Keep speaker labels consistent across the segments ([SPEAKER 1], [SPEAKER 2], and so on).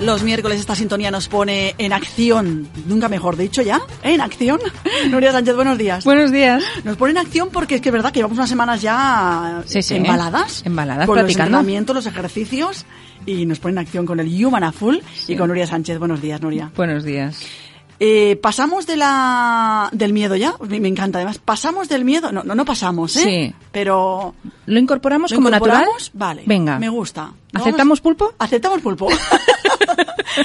[SPEAKER 1] Los miércoles esta sintonía nos pone en acción. Nunca mejor dicho ya, ¿eh? en acción. Nuria Sánchez, buenos días.
[SPEAKER 2] Buenos días.
[SPEAKER 1] Nos pone en acción porque es que es verdad que llevamos unas semanas ya
[SPEAKER 2] Sí, sí.
[SPEAKER 1] embaladas.
[SPEAKER 2] Embaladas,
[SPEAKER 1] Con los
[SPEAKER 2] practicando.
[SPEAKER 1] entrenamientos, los ejercicios. Y nos pone en acción con el Human a Full y con Nuria Sánchez. Buenos días, Nuria.
[SPEAKER 2] Buenos días.
[SPEAKER 1] Eh, pasamos de la, del miedo ya, me, me encanta además. Pasamos del miedo, no, no, no pasamos, ¿eh?
[SPEAKER 2] Sí.
[SPEAKER 1] Pero.
[SPEAKER 2] ¿Lo incorporamos
[SPEAKER 1] ¿lo
[SPEAKER 2] como
[SPEAKER 1] incorporamos?
[SPEAKER 2] natural?
[SPEAKER 1] Vale.
[SPEAKER 2] Venga.
[SPEAKER 1] Me gusta. ¿No?
[SPEAKER 2] ¿Aceptamos pulpo?
[SPEAKER 1] Aceptamos pulpo.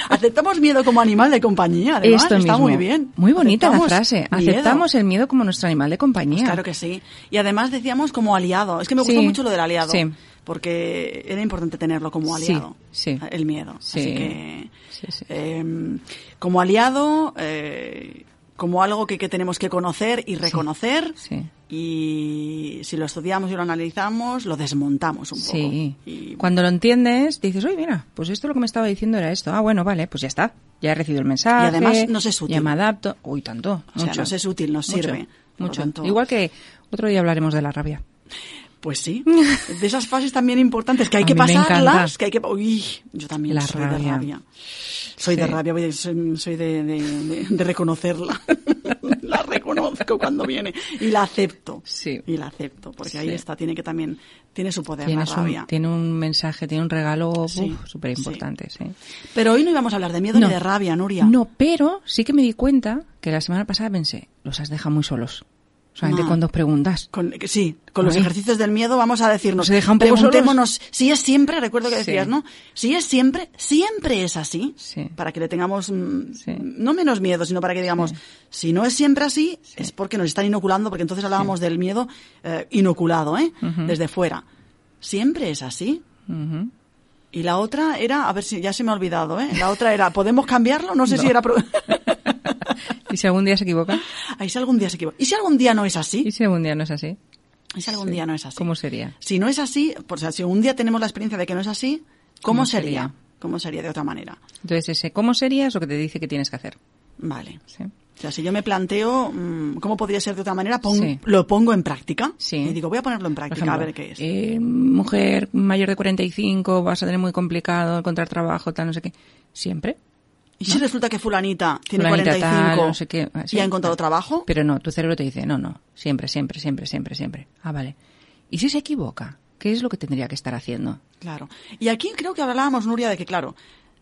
[SPEAKER 1] Aceptamos miedo como animal de compañía, además.
[SPEAKER 2] Esto
[SPEAKER 1] Está
[SPEAKER 2] mismo.
[SPEAKER 1] muy bien.
[SPEAKER 2] Muy bonita
[SPEAKER 1] Aceptamos
[SPEAKER 2] la frase.
[SPEAKER 1] miedo.
[SPEAKER 2] Aceptamos el miedo como nuestro animal de compañía.
[SPEAKER 1] Pues claro que sí. Y además decíamos como aliado. Es que me gustó
[SPEAKER 2] Sí,
[SPEAKER 1] mucho lo del aliado.
[SPEAKER 2] sí.
[SPEAKER 1] Porque era importante tenerlo como
[SPEAKER 2] Sí,
[SPEAKER 1] aliado.
[SPEAKER 2] sí.
[SPEAKER 1] El miedo.
[SPEAKER 2] Sí,
[SPEAKER 1] Así que.
[SPEAKER 2] sí, sí.
[SPEAKER 1] eh, como aliado, eh, como algo que, que tenemos que conocer y reconocer.
[SPEAKER 2] sí.
[SPEAKER 1] Y si lo estudiamos y lo analizamos, lo desmontamos un poco.
[SPEAKER 2] Sí.
[SPEAKER 1] Y-
[SPEAKER 2] Cuando lo entiendes, dices, oye, mira, pues esto lo que me estaba diciendo era esto. Ah, bueno, vale, pues ya está. Ya he recibido el mensaje.
[SPEAKER 1] Y además nos es útil.
[SPEAKER 2] Ya me adapto. Uy, tanto.
[SPEAKER 1] O sea,
[SPEAKER 2] mucho.
[SPEAKER 1] nos es útil, nos
[SPEAKER 2] Mucho,
[SPEAKER 1] sirve. Por lo
[SPEAKER 2] Mucho.
[SPEAKER 1] tanto-
[SPEAKER 2] Igual que otro día hablaremos de la rabia.
[SPEAKER 1] Pues sí, de esas fases también importantes que hay
[SPEAKER 2] A
[SPEAKER 1] que
[SPEAKER 2] mí me
[SPEAKER 1] pasarlas,
[SPEAKER 2] encanta.
[SPEAKER 1] que hay que... Uy, yo también
[SPEAKER 2] La
[SPEAKER 1] soy de
[SPEAKER 2] rabia.
[SPEAKER 1] rabia. Soy de
[SPEAKER 2] Sí.
[SPEAKER 1] rabia, voy de- soy, soy de, de- de- de reconocerla. la reconozco cuando viene y la acepto.
[SPEAKER 2] Sí.
[SPEAKER 1] Y la acepto, porque ahí
[SPEAKER 2] Sí.
[SPEAKER 1] está, tiene que también, tiene su poder la
[SPEAKER 2] Tienes
[SPEAKER 1] rabia.
[SPEAKER 2] un, tiene un mensaje, tiene un regalo
[SPEAKER 1] Sí,
[SPEAKER 2] súper importante. Sí.
[SPEAKER 1] Pero hoy no íbamos a hablar de miedo
[SPEAKER 2] No.
[SPEAKER 1] ni de rabia, Nuria.
[SPEAKER 2] No, pero sí que me di cuenta que la semana pasada pensé, los has dejado muy solos. Solamente
[SPEAKER 1] Ah.
[SPEAKER 2] cuando preguntas.
[SPEAKER 1] Con- que sí, con los
[SPEAKER 2] Ay.
[SPEAKER 1] ejercicios del miedo vamos a decirnos,
[SPEAKER 2] Se deja un poco
[SPEAKER 1] preguntémonos si es siempre, recuerdo que
[SPEAKER 2] Sí.
[SPEAKER 1] decías, ¿no? Si es siempre, siempre es así,
[SPEAKER 2] Sí.
[SPEAKER 1] para que le tengamos mm,
[SPEAKER 2] Sí.
[SPEAKER 1] no menos miedo, sino para que digamos,
[SPEAKER 2] Sí.
[SPEAKER 1] si no es siempre así, es porque nos están inoculando, porque entonces hablábamos del miedo eh, inoculado, ¿eh?
[SPEAKER 2] Ujú.
[SPEAKER 1] Desde fuera. Siempre es así.
[SPEAKER 2] Ujú.
[SPEAKER 1] Y la otra era, a ver si ya se me ha olvidado, ¿eh? La otra era, ¿podemos cambiarlo? No sé si era... pro-
[SPEAKER 2] ¿Y si algún día se equivoca?
[SPEAKER 1] Ay, si algún día se equivoca. ¿Y si algún día no es
[SPEAKER 2] ¿Y
[SPEAKER 1] así?
[SPEAKER 2] si algún día no es así?
[SPEAKER 1] ¿Y si algún día no es así?
[SPEAKER 2] ¿Cómo sería?
[SPEAKER 1] Si no es así, o sea, si un día tenemos la experiencia de que no es así, ¿cómo,
[SPEAKER 2] ¿Cómo
[SPEAKER 1] sería?
[SPEAKER 2] sería?
[SPEAKER 1] ¿Cómo sería de otra manera?
[SPEAKER 2] Entonces, ese cómo sería es lo que te dice que tienes que hacer.
[SPEAKER 1] Vale.
[SPEAKER 2] Sí.
[SPEAKER 1] O sea, si yo me planteo mm, cómo podría ser de otra manera, pon-
[SPEAKER 2] Sí.
[SPEAKER 1] lo pongo en práctica.
[SPEAKER 2] Sí.
[SPEAKER 1] Y digo, voy a ponerlo en
[SPEAKER 2] Por
[SPEAKER 1] práctica,
[SPEAKER 2] ejemplo,
[SPEAKER 1] a ver qué es.
[SPEAKER 2] eh, mujer mayor de 45, vas a tener muy complicado encontrar trabajo, tal, no sé qué. Siempre.
[SPEAKER 1] ¿Y si resulta que fulanita tiene
[SPEAKER 2] Fulanita
[SPEAKER 1] 45
[SPEAKER 2] tal, no sé qué, ah, sí.
[SPEAKER 1] y ha encontrado trabajo?
[SPEAKER 2] Pero no, tu cerebro te dice, no, no, siempre, siempre, siempre, siempre, siempre. Ah, vale. ¿Y si se equivoca? ¿Qué es lo que tendría que estar haciendo?
[SPEAKER 1] Claro. Y aquí creo que hablábamos, Nuria, de que, claro,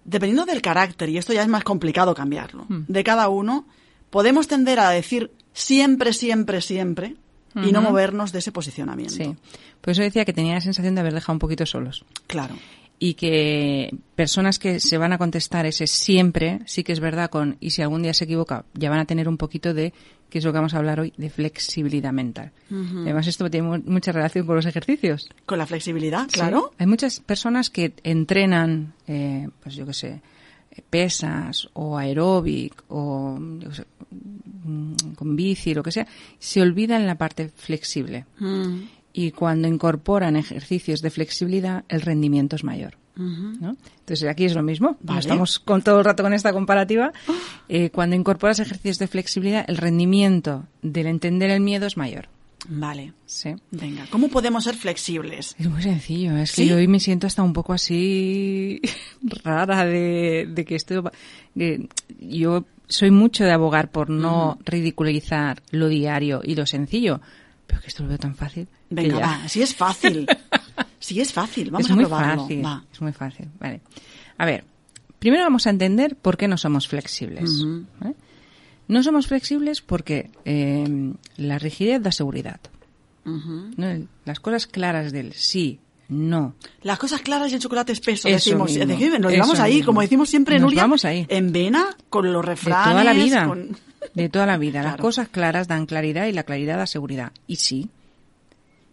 [SPEAKER 1] dependiendo del carácter, y esto ya es más complicado cambiarlo,
[SPEAKER 2] Hmm.
[SPEAKER 1] de cada uno, podemos tender a decir siempre, siempre, siempre, y no
[SPEAKER 2] Ujú.
[SPEAKER 1] movernos de ese posicionamiento.
[SPEAKER 2] Sí. Por eso decía que tenía la sensación de haber dejado un poquito solos.
[SPEAKER 1] Claro.
[SPEAKER 2] Y que personas que se van a contestar ese siempre, sí que es verdad con, y si algún día se equivoca, ya van a tener un poquito de, que es lo que vamos a hablar hoy, de flexibilidad mental.
[SPEAKER 1] Ujú.
[SPEAKER 2] Además, esto tiene mu- mucha relación con los ejercicios.
[SPEAKER 1] Con la flexibilidad, claro.
[SPEAKER 2] Sí. Hay muchas personas que entrenan, eh, pues yo qué sé, eh, pesas o aeróbic o yo qué sé, mm, con bici, lo que sea, se olvidan la parte flexible.
[SPEAKER 1] Mm,
[SPEAKER 2] Y cuando incorporan ejercicios de flexibilidad, el rendimiento es mayor.
[SPEAKER 1] ujú.
[SPEAKER 2] ¿no? Entonces aquí es lo mismo. como
[SPEAKER 1] Vale. Ah.
[SPEAKER 2] Estamos con todo el rato con esta comparativa. Eh, cuando incorporas ejercicios de flexibilidad, el rendimiento del entender el miedo es mayor.
[SPEAKER 1] Vale.
[SPEAKER 2] Sí.
[SPEAKER 1] Venga, ¿cómo podemos ser flexibles?
[SPEAKER 2] Es muy sencillo, es
[SPEAKER 1] ¿Sí?
[SPEAKER 2] que yo hoy me siento hasta un poco así rara de, de que esto... va- que yo soy mucho de abogar por no ridiculizar lo diario y lo sencillo, pero que esto lo veo tan fácil. que
[SPEAKER 1] Venga,
[SPEAKER 2] ya-
[SPEAKER 1] va, si es fácil. Si es fácil, vamos
[SPEAKER 2] es
[SPEAKER 1] a
[SPEAKER 2] muy
[SPEAKER 1] probarlo.
[SPEAKER 2] fácil,
[SPEAKER 1] Va.
[SPEAKER 2] es muy fácil, vale. A ver, primero vamos a entender por qué no somos flexibles.
[SPEAKER 1] Ujú.
[SPEAKER 2] ¿vale? No somos flexibles porque eh, la rigidez da seguridad.
[SPEAKER 1] Ujú.
[SPEAKER 2] ¿no? El- Las cosas claras del sí, no,
[SPEAKER 1] Las cosas claras y el chocolate espeso,
[SPEAKER 2] Eso
[SPEAKER 1] decimos.
[SPEAKER 2] mismo,
[SPEAKER 1] decimos, nos
[SPEAKER 2] eso
[SPEAKER 1] llevamos ahí,
[SPEAKER 2] mismo.
[SPEAKER 1] como decimos siempre,
[SPEAKER 2] Nos
[SPEAKER 1] Nuria.
[SPEAKER 2] vamos ahí.
[SPEAKER 1] En vena, con los
[SPEAKER 2] De
[SPEAKER 1] refranes.
[SPEAKER 2] toda la vida.
[SPEAKER 1] con-
[SPEAKER 2] De toda la vida. Las
[SPEAKER 1] Claro.
[SPEAKER 2] cosas claras dan claridad y la claridad da seguridad. Y sí,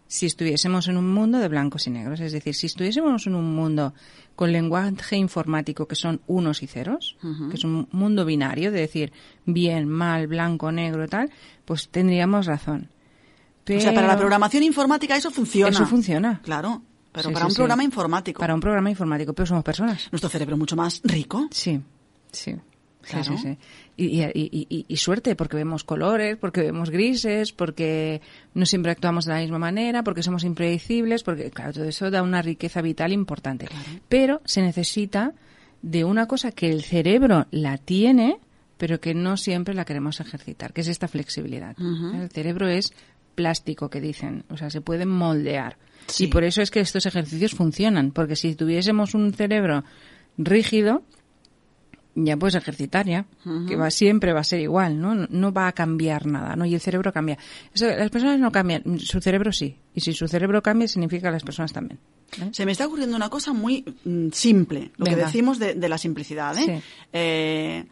[SPEAKER 2] si estuviésemos en un mundo de blancos y negros, es decir, si estuviésemos en un mundo con lenguaje informático que son unos y ceros,
[SPEAKER 1] Ujú.
[SPEAKER 2] que es un mundo binario, de decir bien, mal, blanco, negro, tal, pues tendríamos razón.
[SPEAKER 1] O sea, para la
[SPEAKER 2] Pero
[SPEAKER 1] programación informática eso funciona.
[SPEAKER 2] Eso funciona.
[SPEAKER 1] Claro, pero
[SPEAKER 2] Sí,
[SPEAKER 1] para
[SPEAKER 2] sí,
[SPEAKER 1] un
[SPEAKER 2] sí.
[SPEAKER 1] programa informático.
[SPEAKER 2] Para un programa informático, pero somos personas.
[SPEAKER 1] Nuestro cerebro mucho más rico.
[SPEAKER 2] Sí, sí. Sí,
[SPEAKER 1] Claro.
[SPEAKER 2] sí, sí. Y, y- y- y- y suerte, porque vemos colores, porque vemos grises, porque no siempre actuamos de la misma manera, porque somos impredecibles, porque, claro, todo eso da una riqueza vital importante. Pero se necesita de una cosa que el cerebro la tiene, pero que no siempre la queremos ejercitar, que es esta flexibilidad.
[SPEAKER 1] Ujú.
[SPEAKER 2] El cerebro es plástico, que dicen, o sea, se puede moldear.
[SPEAKER 1] Sí.
[SPEAKER 2] Y por eso es que estos ejercicios funcionan, porque si tuviésemos un cerebro rígido, ya puedes ejercitar ya, que va, siempre va a ser igual, ¿no? ¿no? no va a cambiar nada, ¿no? Y el cerebro cambia. Eso, las personas no cambian, su cerebro sí. Y si su cerebro cambia, significa que las personas también. ¿eh?
[SPEAKER 1] Se me está ocurriendo una cosa muy mm, simple, lo que
[SPEAKER 2] Venga.
[SPEAKER 1] decimos de, de la simplicidad. ¿eh?
[SPEAKER 2] Sí.
[SPEAKER 1] Eh,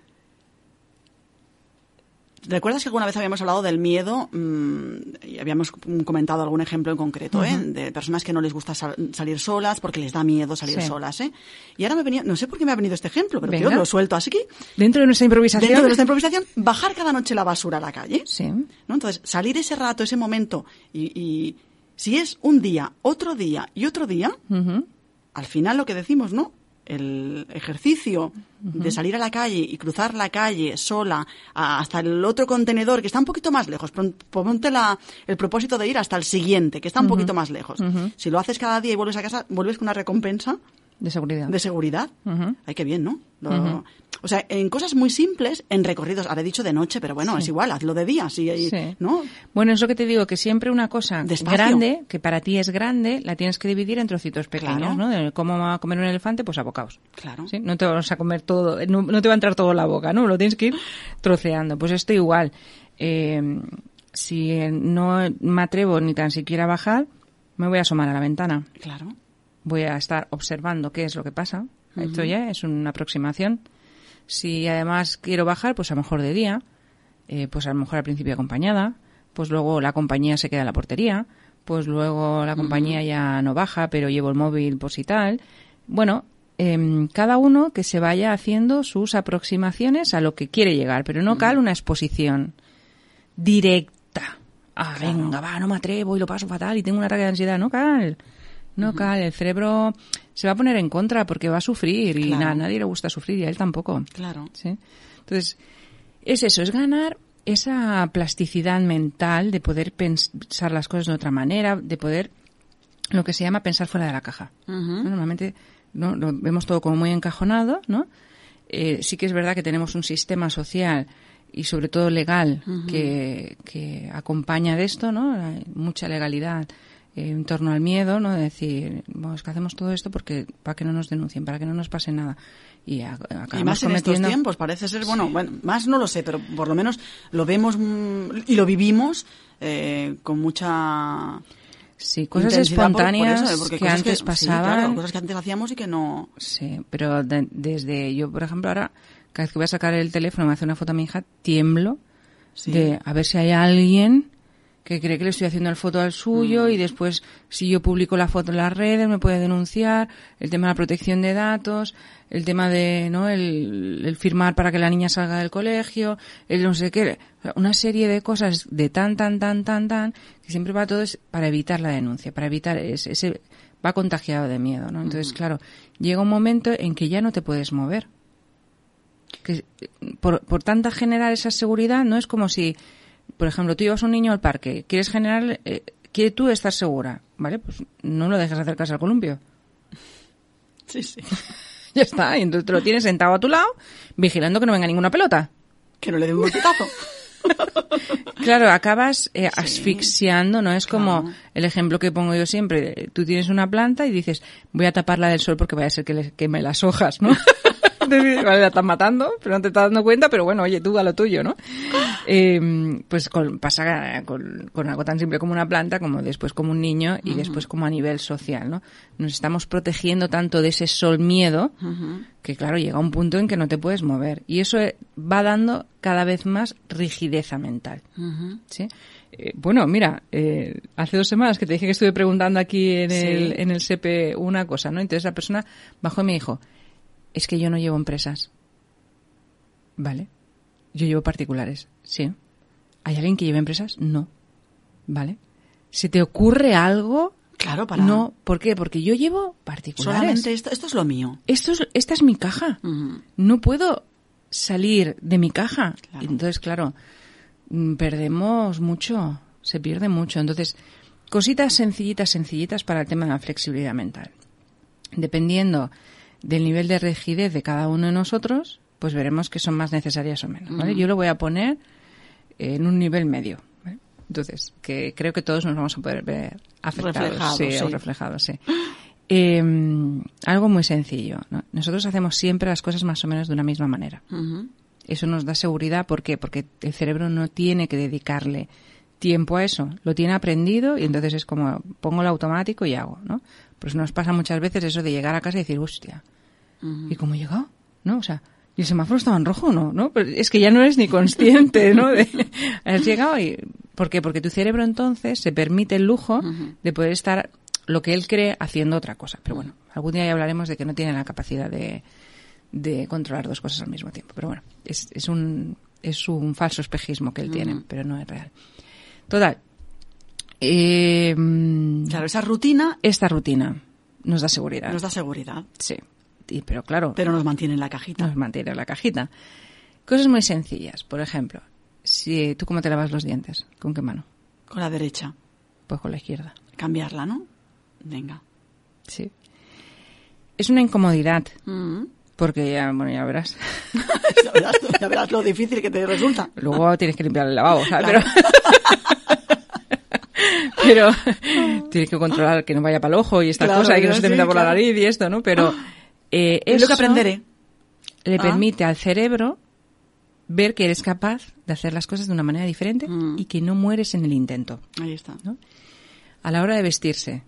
[SPEAKER 1] ¿Recuerdas que alguna vez habíamos hablado del miedo mm, y habíamos mm, comentado algún ejemplo en concreto ¿eh? de personas que no les gusta sal- salir solas porque les da miedo salir
[SPEAKER 2] Sí.
[SPEAKER 1] solas? ¿eh? Y ahora me venía, no sé por qué me ha venido este ejemplo, pero yo
[SPEAKER 2] Venga.
[SPEAKER 1] lo suelto así que
[SPEAKER 2] Dentro de nuestra improvisación.
[SPEAKER 1] dentro de esta improvisación, bajar cada noche la basura a la calle.
[SPEAKER 2] Sí.
[SPEAKER 1] ¿no? Entonces, salir ese rato, ese momento, y, y si es un día, otro día y otro día,
[SPEAKER 2] Ujú.
[SPEAKER 1] al final lo que decimos, ¿no? El ejercicio de salir a la calle y cruzar la calle sola a- hasta el otro contenedor que está un poquito más lejos. Pon- Ponte la- el propósito de ir hasta el siguiente, que está un poquito más lejos.
[SPEAKER 2] Ujú.
[SPEAKER 1] Si lo haces cada día y vuelves a casa, vuelves con una recompensa
[SPEAKER 2] De seguridad.
[SPEAKER 1] de seguridad.
[SPEAKER 2] Ujú.
[SPEAKER 1] Ay, qué bien, ¿no? Lo-
[SPEAKER 2] Ujú.
[SPEAKER 1] O sea, en cosas muy simples, en recorridos, ahora he dicho de noche, pero bueno, es igual, hazlo de día, si,
[SPEAKER 2] Sí.
[SPEAKER 1] ¿no?
[SPEAKER 2] Bueno, es lo que te digo, que siempre una cosa
[SPEAKER 1] Despacio.
[SPEAKER 2] grande, que para ti es grande, la tienes que dividir en trocitos pequeños,
[SPEAKER 1] Claro.
[SPEAKER 2] ¿no? De cómo va a comer un elefante, pues a bocados.
[SPEAKER 1] Claro.
[SPEAKER 2] ¿sí? No te vas a comer todo, no, no te va a entrar todo en la boca, ¿no? Lo tienes que ir troceando. Pues esto igual. Eh, si no me atrevo ni tan siquiera a bajar, me voy a asomar a la ventana.
[SPEAKER 1] Claro.
[SPEAKER 2] voy a estar observando qué es lo que pasa. Esto ya es una aproximación. Si además quiero bajar, pues a lo mejor de día, eh, pues a lo mejor al principio acompañada, pues luego la compañía se queda en la portería, pues luego la compañía ya no baja, pero llevo el móvil por si tal. Bueno, em, cada uno que se vaya haciendo sus aproximaciones a lo que quiere llegar, pero no cal una exposición directa. Ah, venga, va, no me atrevo y lo paso fatal y tengo un ataque de ansiedad. No, cal. No, cal. El cerebro se va a poner en contra porque va a sufrir y
[SPEAKER 1] Claro.
[SPEAKER 2] na- a nadie le gusta sufrir y a él tampoco.
[SPEAKER 1] Claro.
[SPEAKER 2] ¿sí? Entonces, es eso, es ganar esa plasticidad mental de poder pensar las cosas de otra manera, de poder lo que se llama pensar fuera de la caja.
[SPEAKER 1] Ujú.
[SPEAKER 2] ¿no? Normalmente ¿no? lo vemos todo como muy encajonado, ¿no? Eh, sí que es verdad que tenemos un sistema social y sobre todo legal que, que acompaña de esto, ¿no? Hay mucha legalidad eh, en torno al miedo, ¿no? De decir, bueno, es que hacemos todo esto porque para que no nos denuncien, para que no nos pase nada. Y a- acabamos
[SPEAKER 1] Y más en estos
[SPEAKER 2] cometiendo-
[SPEAKER 1] tiempos, parece ser, bueno, bueno, más no lo sé, pero por lo menos lo vemos mm, y lo vivimos eh, con mucha
[SPEAKER 2] Sí, cosas
[SPEAKER 1] intensidad por- por
[SPEAKER 2] espontáneas
[SPEAKER 1] eso, ¿eh? porque
[SPEAKER 2] que
[SPEAKER 1] cosas
[SPEAKER 2] antes
[SPEAKER 1] sí,
[SPEAKER 2] pasaban.
[SPEAKER 1] claro, cosas que antes hacíamos y que no...
[SPEAKER 2] Sí, pero de- desde yo, por ejemplo, ahora, cada vez que voy a sacar el teléfono, me hace una foto a mi hija, tiemblo
[SPEAKER 1] Sí.
[SPEAKER 2] de a ver si hay alguien que cree que le estoy haciendo el foto al suyo y después, si yo publico la foto en las redes, me puede denunciar. El tema de la protección de datos, el tema de, ¿no? El, el firmar para que la niña salga del colegio, el no sé qué. O sea, Una serie de cosas de tan, tan, tan, tan, tan, que siempre va todo es para evitar la denuncia, para evitar ese, ese va contagiado de miedo, ¿no? Entonces, claro, llega un momento en que ya no te puedes mover. Que eh, por, por tanta generar esa seguridad, no es como si, por ejemplo, tú llevas a un niño al parque, quieres generar, eh, quiere tú estar segura, ¿vale? Pues no lo dejas acercarse al columpio.
[SPEAKER 1] Sí, sí.
[SPEAKER 2] Ya está, y entonces te lo tienes sentado a tu lado, vigilando que no venga ninguna pelota.
[SPEAKER 1] Que no le den un golpetazo.
[SPEAKER 2] Claro, acabas eh, asfixiando, ¿no? Es como
[SPEAKER 1] claro.
[SPEAKER 2] el ejemplo que pongo yo siempre. Tú tienes una planta y dices, voy a taparla del sol porque vaya a ser que le queme las hojas, ¿no? Entonces, vale, la estás matando, pero no te estás dando cuenta, pero bueno, oye, tú a lo tuyo, ¿no? Eh, pues con- pasa con, con algo tan simple como una planta, como después como un niño y después como a nivel social, ¿no? Nos estamos protegiendo tanto de ese sol miedo
[SPEAKER 1] Ujú.
[SPEAKER 2] que claro, llega un punto en que no te puedes mover. Y eso eh, va dando cada vez más rigideza mental.
[SPEAKER 1] Ujú.
[SPEAKER 2] ¿sí? Eh, bueno, mira, eh, hace dos semanas que te dije que estuve preguntando aquí en,
[SPEAKER 1] Sí.
[SPEAKER 2] el, en el SEPE E una cosa, ¿no? Entonces la persona bajó y me dijo, es que yo no llevo empresas. Vale. Yo llevo particulares, sí. ¿Hay alguien que lleve empresas? No. Vale. ¿Se te ocurre algo?
[SPEAKER 1] Claro, para...
[SPEAKER 2] No. ¿Por qué? Porque yo llevo particulares.
[SPEAKER 1] Solamente esto, esto es lo mío.
[SPEAKER 2] Esto es, esta es mi caja
[SPEAKER 1] Ujú.
[SPEAKER 2] no puedo salir de mi caja.
[SPEAKER 1] Claro.
[SPEAKER 2] Entonces, claro, mm, perdemos mucho, se pierde mucho. Entonces, cositas sencillitas, sencillitas para el tema de la flexibilidad mental. Dependiendo del nivel de rigidez de cada uno de nosotros, pues veremos que son más necesarias o menos. ¿vale?
[SPEAKER 1] Ujú.
[SPEAKER 2] Yo lo voy a poner en un nivel medio. ¿vale? Entonces, que creo que todos nos vamos a poder ver afectados
[SPEAKER 1] Reflejados,
[SPEAKER 2] sí,
[SPEAKER 1] sí.
[SPEAKER 2] o reflejados. Sí. Eh, algo muy sencillo. ¿no? Nosotros hacemos siempre las cosas más o menos de una misma manera.
[SPEAKER 1] Ujú.
[SPEAKER 2] Eso nos da seguridad. ¿Por qué? Porque el cerebro no tiene que dedicarle tiempo a eso. Lo tiene aprendido y entonces es como pongo el automático y hago, ¿no? Pues nos pasa muchas veces eso de llegar a casa y decir, hostia, ¿y cómo he llegado? ¿No? O sea, ¿y el semáforo estaba en rojo o no? ¿No? Pero es que ya no eres ni consciente, ¿no? De- has llegado y... ¿Por qué? Porque tu cerebro entonces se permite el lujo
[SPEAKER 1] Ujú.
[SPEAKER 2] de poder estar lo que él cree haciendo otra cosa. Pero bueno, algún día ya hablaremos de que no tiene la capacidad de, de controlar dos cosas al mismo tiempo. Pero bueno, es, es un, es un falso espejismo que él tiene,
[SPEAKER 1] Ujú.
[SPEAKER 2] pero no es real. Total. Eh, mm,
[SPEAKER 1] Claro, esa rutina
[SPEAKER 2] Esta rutina nos da seguridad.
[SPEAKER 1] nos da seguridad,
[SPEAKER 2] Sí. Y- pero claro,
[SPEAKER 1] pero nos mantiene en la cajita.
[SPEAKER 2] nos mantiene la cajita. Cosas muy sencillas. Por ejemplo, si tú cómo te lavas los dientes, ¿con qué mano?
[SPEAKER 1] Con la derecha.
[SPEAKER 2] Pues con la izquierda.
[SPEAKER 1] Cambiarla, ¿no? Venga.
[SPEAKER 2] Sí. Es una incomodidad,
[SPEAKER 1] Ujú.
[SPEAKER 2] porque ya, bueno, ya verás.
[SPEAKER 1] Ya verás, tú, ya verás lo difícil que te resulta.
[SPEAKER 2] Luego tienes que limpiar el lavabo, ¿sabes?
[SPEAKER 1] Claro.
[SPEAKER 2] Pero, pero tienes que controlar que no vaya para el ojo y estas
[SPEAKER 1] Claro,
[SPEAKER 2] cosas, y que no
[SPEAKER 1] sí,
[SPEAKER 2] se te meta por la
[SPEAKER 1] claro.
[SPEAKER 2] nariz y esto, ¿no? Pero eh,
[SPEAKER 1] Es lo que
[SPEAKER 2] eso
[SPEAKER 1] aprenderé.
[SPEAKER 2] le
[SPEAKER 1] Ah.
[SPEAKER 2] permite al cerebro ver que eres capaz de hacer las cosas de una manera diferente
[SPEAKER 1] Mm.
[SPEAKER 2] y que no mueres en el intento.
[SPEAKER 1] Ahí está.
[SPEAKER 2] ¿no? A la hora de vestirse,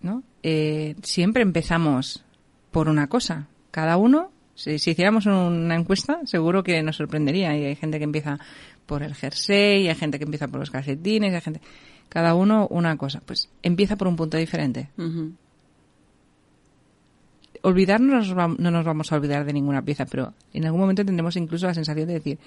[SPEAKER 2] ¿no? Eh, siempre empezamos por una cosa. Cada uno, si, si hiciéramos una encuesta, seguro que nos sorprendería. Y hay gente que empieza por el jersey, y hay gente que empieza por los calcetines, y hay gente... Cada uno una cosa. Pues empieza por un punto diferente.
[SPEAKER 1] Ujú.
[SPEAKER 2] Olvidarnos nos va- no nos vamos a olvidar de ninguna pieza, pero en algún momento tendremos incluso la sensación de decir,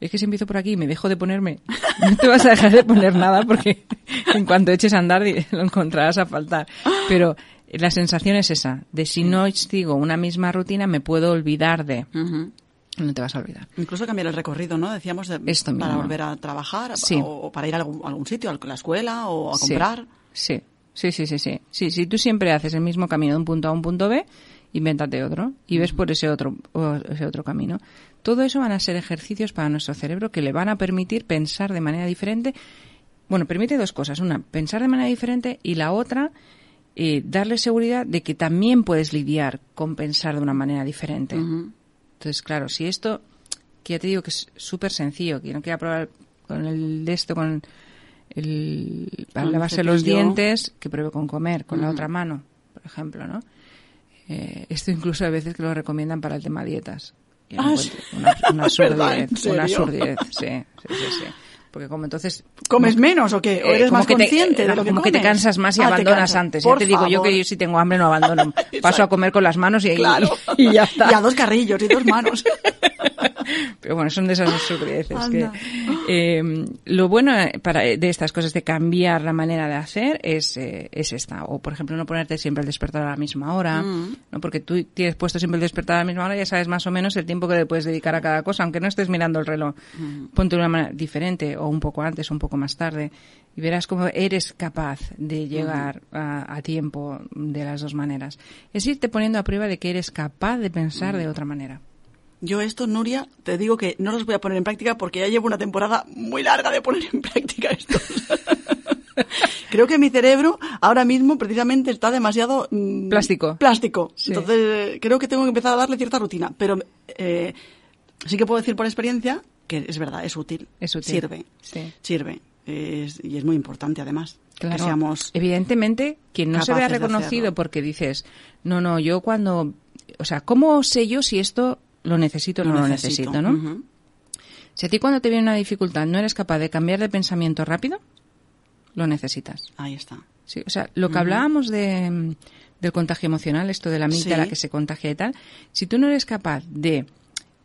[SPEAKER 2] es que si empiezo por aquí y me dejo de ponerme, no te vas a dejar de poner nada porque en cuanto eches a andar di- lo encontrarás a faltar. Pero la sensación es esa, de si no sigo una misma rutina me puedo olvidar de,
[SPEAKER 1] Ujú.
[SPEAKER 2] no te vas a olvidar.
[SPEAKER 1] Incluso cambiar el recorrido, ¿no? Decíamos de-
[SPEAKER 2] Esto
[SPEAKER 1] para
[SPEAKER 2] mismo.
[SPEAKER 1] volver a trabajar
[SPEAKER 2] Sí.
[SPEAKER 1] o, o para ir a algún, a algún sitio, a la escuela o a
[SPEAKER 2] Sí,
[SPEAKER 1] comprar.
[SPEAKER 2] Sí, sí, sí, sí, sí. Sí, si tú siempre haces el mismo camino de un punto A a un punto B, invéntate otro y ves por ese otro, o ese otro camino. Todo eso van a ser ejercicios para nuestro cerebro que le van a permitir pensar de manera diferente. Bueno, permite dos cosas. Una, pensar de manera diferente y la otra, eh, darle seguridad de que también puedes lidiar con pensar de una manera diferente.
[SPEAKER 1] Ujú.
[SPEAKER 2] Entonces, claro, si esto, que ya te digo que es súper sencillo, que no quiera probar con el de esto, con el, para
[SPEAKER 1] Con el
[SPEAKER 2] lavarse los
[SPEAKER 1] cepillo.
[SPEAKER 2] dientes, que pruebe con comer, con la
[SPEAKER 1] Ujú.
[SPEAKER 2] otra mano, por ejemplo, ¿no? Eh, esto incluso a veces que lo recomiendan para el tema dietas. Yo lo
[SPEAKER 1] Ah,
[SPEAKER 2] encuentro una, una
[SPEAKER 1] ¿Es verdad?
[SPEAKER 2] absurdez,
[SPEAKER 1] ¿En serio?
[SPEAKER 2] una absurdez, sí, sí, sí, sí. Porque como entonces...
[SPEAKER 1] ¿Comes menos o qué? ¿O
[SPEAKER 2] eh,
[SPEAKER 1] eres
[SPEAKER 2] como
[SPEAKER 1] más
[SPEAKER 2] que te-
[SPEAKER 1] consciente de
[SPEAKER 2] eh,
[SPEAKER 1] lo que
[SPEAKER 2] Como que te
[SPEAKER 1] comes?
[SPEAKER 2] cansas más y
[SPEAKER 1] Ah, te
[SPEAKER 2] abandonas
[SPEAKER 1] cansas.
[SPEAKER 2] antes.
[SPEAKER 1] Por
[SPEAKER 2] ya te digo yo
[SPEAKER 1] favor.
[SPEAKER 2] que yo si tengo hambre no abandono. Paso a comer con las manos y, y-
[SPEAKER 1] Claro.
[SPEAKER 2] y ya está.
[SPEAKER 1] Y a dos carrillos y dos manos.
[SPEAKER 2] Pero bueno, son de esas absurdeces. que,
[SPEAKER 1] Anda.
[SPEAKER 2] eh, lo bueno eh, para, de estas cosas de cambiar la manera de hacer es, eh, es esta. O, por ejemplo, no ponerte siempre el despertador a la misma hora.
[SPEAKER 1] Mm.
[SPEAKER 2] ¿no? Porque tú tienes puesto siempre el despertador a la misma hora y ya sabes más o menos el tiempo que le puedes dedicar a cada cosa. Aunque no estés mirando el reloj,
[SPEAKER 1] Mm.
[SPEAKER 2] ponte de una manera diferente o un poco antes o un poco más tarde. Y verás cómo eres capaz
[SPEAKER 1] Mm.
[SPEAKER 2] de llegar a, a tiempo de las dos maneras. Es irte poniendo a prueba de que eres capaz de pensar
[SPEAKER 1] Mm.
[SPEAKER 2] de otra manera.
[SPEAKER 1] Yo esto, Nuria, te digo que no los voy a poner en práctica porque ya llevo una temporada muy larga de poner en práctica esto. Creo que mi cerebro ahora mismo precisamente está demasiado... mm,
[SPEAKER 2] Plástico.
[SPEAKER 1] Plástico.
[SPEAKER 2] Sí.
[SPEAKER 1] Entonces eh, creo que tengo que empezar a darle cierta rutina. Pero eh, sí que puedo decir por experiencia que es verdad, es útil.
[SPEAKER 2] Es útil.
[SPEAKER 1] Sirve.
[SPEAKER 2] Sí.
[SPEAKER 1] Sirve. Es- y es muy importante además. Que
[SPEAKER 2] Claro.
[SPEAKER 1] seamos...
[SPEAKER 2] Evidentemente, quien no se vea
[SPEAKER 1] capaces de
[SPEAKER 2] reconocido
[SPEAKER 1] hacerlo.
[SPEAKER 2] porque dices, no, no, yo cuando. O sea, ¿cómo sé yo si esto lo necesito o no lo necesito, no?
[SPEAKER 1] Ujú.
[SPEAKER 2] Si a ti cuando te viene una dificultad no eres capaz de cambiar de pensamiento rápido, lo necesitas.
[SPEAKER 1] Ahí está.
[SPEAKER 2] Sí, o sea, lo que hablábamos de, mm, del contagio emocional, esto de la amígdala
[SPEAKER 1] Sí.
[SPEAKER 2] que se contagia y tal, si tú no eres capaz de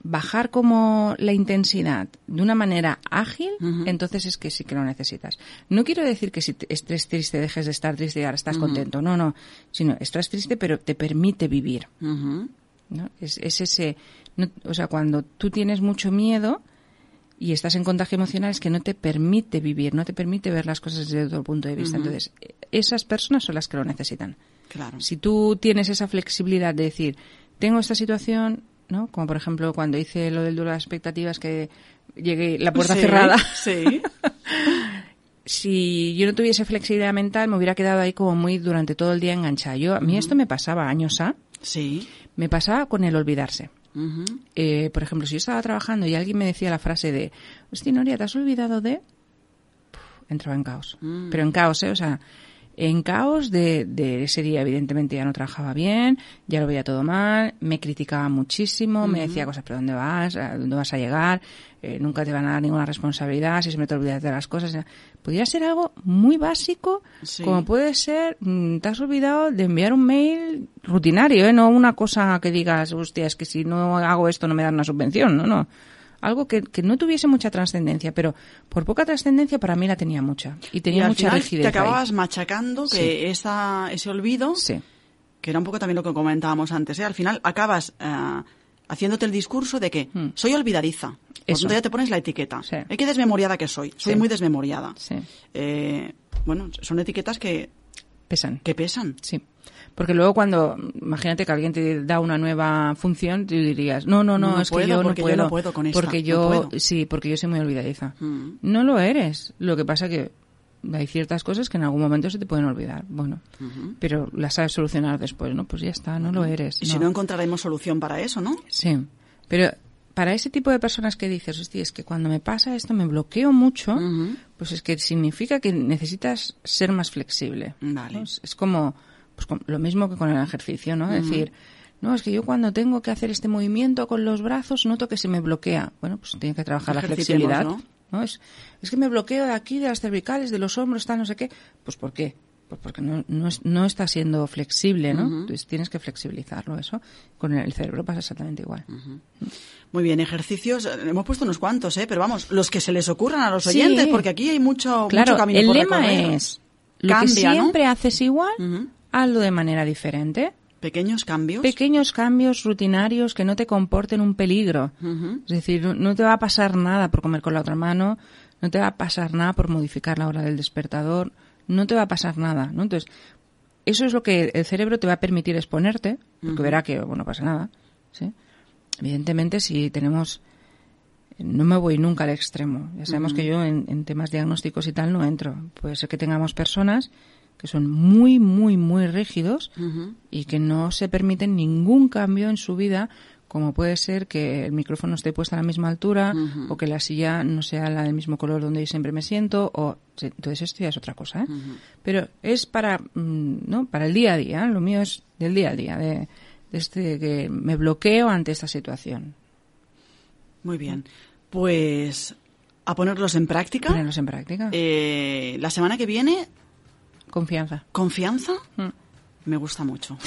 [SPEAKER 2] bajar como la intensidad de una manera ágil,
[SPEAKER 1] Ujú.
[SPEAKER 2] entonces es que sí que lo necesitas. No quiero decir que si te- estés triste dejes de estar triste y ahora estás contento, no, no, sino estás triste pero te permite vivir.
[SPEAKER 1] Ujú.
[SPEAKER 2] ¿no? Es, es ese, no- o sea, cuando tú tienes mucho miedo y estás en contagio emocional es que no te permite vivir, no te permite ver las cosas desde otro punto de vista.
[SPEAKER 1] Ujú.
[SPEAKER 2] Entonces, eh, esas personas son las que lo necesitan.
[SPEAKER 1] Claro.
[SPEAKER 2] Si tú tienes esa flexibilidad de decir, tengo esta situación, ¿no? Como por ejemplo cuando hice lo del duelo de las expectativas que llegué la puerta
[SPEAKER 1] Sí,
[SPEAKER 2] cerrada.
[SPEAKER 1] Sí.
[SPEAKER 2] si yo no tuviese flexibilidad mental me hubiera quedado ahí como muy durante todo el día enganchada. Yo a mí esto me pasaba años a,
[SPEAKER 1] Sí.
[SPEAKER 2] me pasaba con el olvidarse.
[SPEAKER 1] Ujú.
[SPEAKER 2] Eh, por ejemplo, si yo estaba trabajando y alguien me decía la frase de, hostia, Noria, ¿te has olvidado de...? Puf, entraba en caos.
[SPEAKER 1] Mm.
[SPEAKER 2] Pero en caos, ¿eh? O sea, en caos de, de ese día, evidentemente, ya no trabajaba bien, ya lo veía todo mal, me criticaba muchísimo, me decía cosas, ¿pero dónde vas? ¿A ¿Dónde vas a llegar? Eh, nunca te van a dar ninguna responsabilidad, si se me te olvidas de las cosas. Podría ser algo muy básico,
[SPEAKER 1] Sí.
[SPEAKER 2] como puede ser, mm, te has olvidado de enviar un mail rutinario, ¿eh? no una cosa que digas, hostia, es que si no hago esto no me dan una subvención, no, no. Algo que, que no tuviese mucha trascendencia, pero por poca trascendencia para mí la tenía mucha. Y
[SPEAKER 1] Y
[SPEAKER 2] tenía
[SPEAKER 1] al
[SPEAKER 2] mucha
[SPEAKER 1] final
[SPEAKER 2] rigidez.
[SPEAKER 1] Te
[SPEAKER 2] ahí.
[SPEAKER 1] acababas machacando que
[SPEAKER 2] Sí.
[SPEAKER 1] esa, ese olvido,
[SPEAKER 2] Sí,
[SPEAKER 1] que era un poco también lo que comentábamos antes, ¿eh? al final acabas ah, haciéndote el discurso de que
[SPEAKER 2] Mm.
[SPEAKER 1] soy olvidadiza. Por
[SPEAKER 2] Eso.
[SPEAKER 1] tanto, ya te pones la etiqueta.
[SPEAKER 2] Sí.
[SPEAKER 1] Hay que desmemoriada que soy. Soy
[SPEAKER 2] Sí.
[SPEAKER 1] muy desmemoriada.
[SPEAKER 2] sí.
[SPEAKER 1] Eh, bueno, son etiquetas que,
[SPEAKER 2] Pesan.
[SPEAKER 1] que pesan.
[SPEAKER 2] Sí. Porque luego cuando, imagínate que alguien te da una nueva función, tú dirías, no, no, no,
[SPEAKER 1] No
[SPEAKER 2] es
[SPEAKER 1] puedo,
[SPEAKER 2] que yo no
[SPEAKER 1] porque yo
[SPEAKER 2] puedo.
[SPEAKER 1] no puedo con esta,
[SPEAKER 2] Porque
[SPEAKER 1] no
[SPEAKER 2] yo,
[SPEAKER 1] puedo.
[SPEAKER 2] sí, porque yo soy muy olvidadiza.
[SPEAKER 1] Mm.
[SPEAKER 2] No lo eres. Lo que pasa que hay ciertas cosas que en algún momento se te pueden olvidar. Bueno, pero las sabes solucionar después, ¿no? Pues ya está, no lo eres.
[SPEAKER 1] Y si no encontraremos solución para eso, ¿no?
[SPEAKER 2] Sí, pero para ese tipo de personas que dices, hostia, es que cuando me pasa esto me bloqueo mucho,
[SPEAKER 1] Ujú.
[SPEAKER 2] pues es que significa que necesitas ser más flexible.
[SPEAKER 1] Vale.
[SPEAKER 2] ¿no? Es, es como, pues com- lo mismo que con el ejercicio, ¿no? Es decir, no, es que yo cuando tengo que hacer este movimiento con los brazos noto que se me bloquea. Bueno, pues tiene que trabajar la
[SPEAKER 1] Ejercitemos,
[SPEAKER 2] flexibilidad.
[SPEAKER 1] ¿no?
[SPEAKER 2] ¿no? Es, es que me bloqueo de aquí, de las cervicales, de los hombros, tal, no sé qué. Pues ¿por qué? Pues porque no, no, es- no está siendo flexible, ¿no? Entonces tienes que flexibilizarlo, eso. Con el cerebro pasa exactamente igual.
[SPEAKER 1] Muy bien, ejercicios. eh, Hemos puesto unos cuantos, ¿eh? Pero vamos, los que se les ocurran a los
[SPEAKER 2] Sí.
[SPEAKER 1] oyentes, porque aquí hay mucho,
[SPEAKER 2] Claro,
[SPEAKER 1] mucho camino
[SPEAKER 2] el
[SPEAKER 1] por
[SPEAKER 2] lema
[SPEAKER 1] recorrer.
[SPEAKER 2] es, lo
[SPEAKER 1] Cambia,
[SPEAKER 2] que
[SPEAKER 1] ¿no? Mm.
[SPEAKER 2] siempre haces igual,
[SPEAKER 1] Ujú.
[SPEAKER 2] hazlo de manera diferente.
[SPEAKER 1] Pequeños cambios.
[SPEAKER 2] Pequeños cambios rutinarios que no te comporten un peligro.
[SPEAKER 1] Ujú.
[SPEAKER 2] Es decir, no- no te va a pasar nada por comer con la otra mano, no te va a pasar nada por modificar la hora del despertador, no te va a pasar nada, ¿no? Entonces, eso es lo que el cerebro te va a permitir exponerte, porque verá que, bueno, no pasa nada, ¿sí? Evidentemente, si tenemos... No me voy nunca al extremo. Ya sabemos que yo en, en temas diagnósticos y tal no entro. Puede ser que tengamos personas que son muy, muy, muy rígidos
[SPEAKER 1] Ujú.
[SPEAKER 2] y que no se permiten ningún cambio en su vida, como puede ser que el micrófono esté puesto a la misma altura o que la silla no sea la del mismo color donde yo siempre me siento o sí, entonces esto ya es otra cosa, ¿eh? Pero es para mm, no, para el día a día, lo mío es del día a día de, de este que me bloqueo ante esta situación.
[SPEAKER 1] Muy bien. Pues a ponerlos en práctica.
[SPEAKER 2] Ponerlos en práctica.
[SPEAKER 1] Eh, la semana que viene,
[SPEAKER 2] Confianza.
[SPEAKER 1] confianza.
[SPEAKER 2] Mm.
[SPEAKER 1] Me gusta mucho.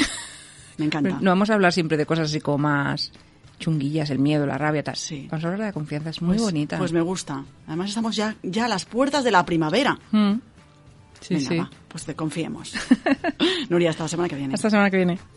[SPEAKER 1] Me encanta.
[SPEAKER 2] No vamos a hablar siempre de cosas así como más chunguillas, el miedo, la rabia, tal.
[SPEAKER 1] Sí.
[SPEAKER 2] Vamos a hablar de la confianza, es muy
[SPEAKER 1] Pues-
[SPEAKER 2] bonita.
[SPEAKER 1] Pues me gusta. Además estamos ya, ya a las puertas de la primavera.
[SPEAKER 2] Mm. Sí,
[SPEAKER 1] Venga,
[SPEAKER 2] sí.
[SPEAKER 1] va, pues te confiemos. Nuria, hasta la semana que viene.
[SPEAKER 2] Hasta la semana que viene.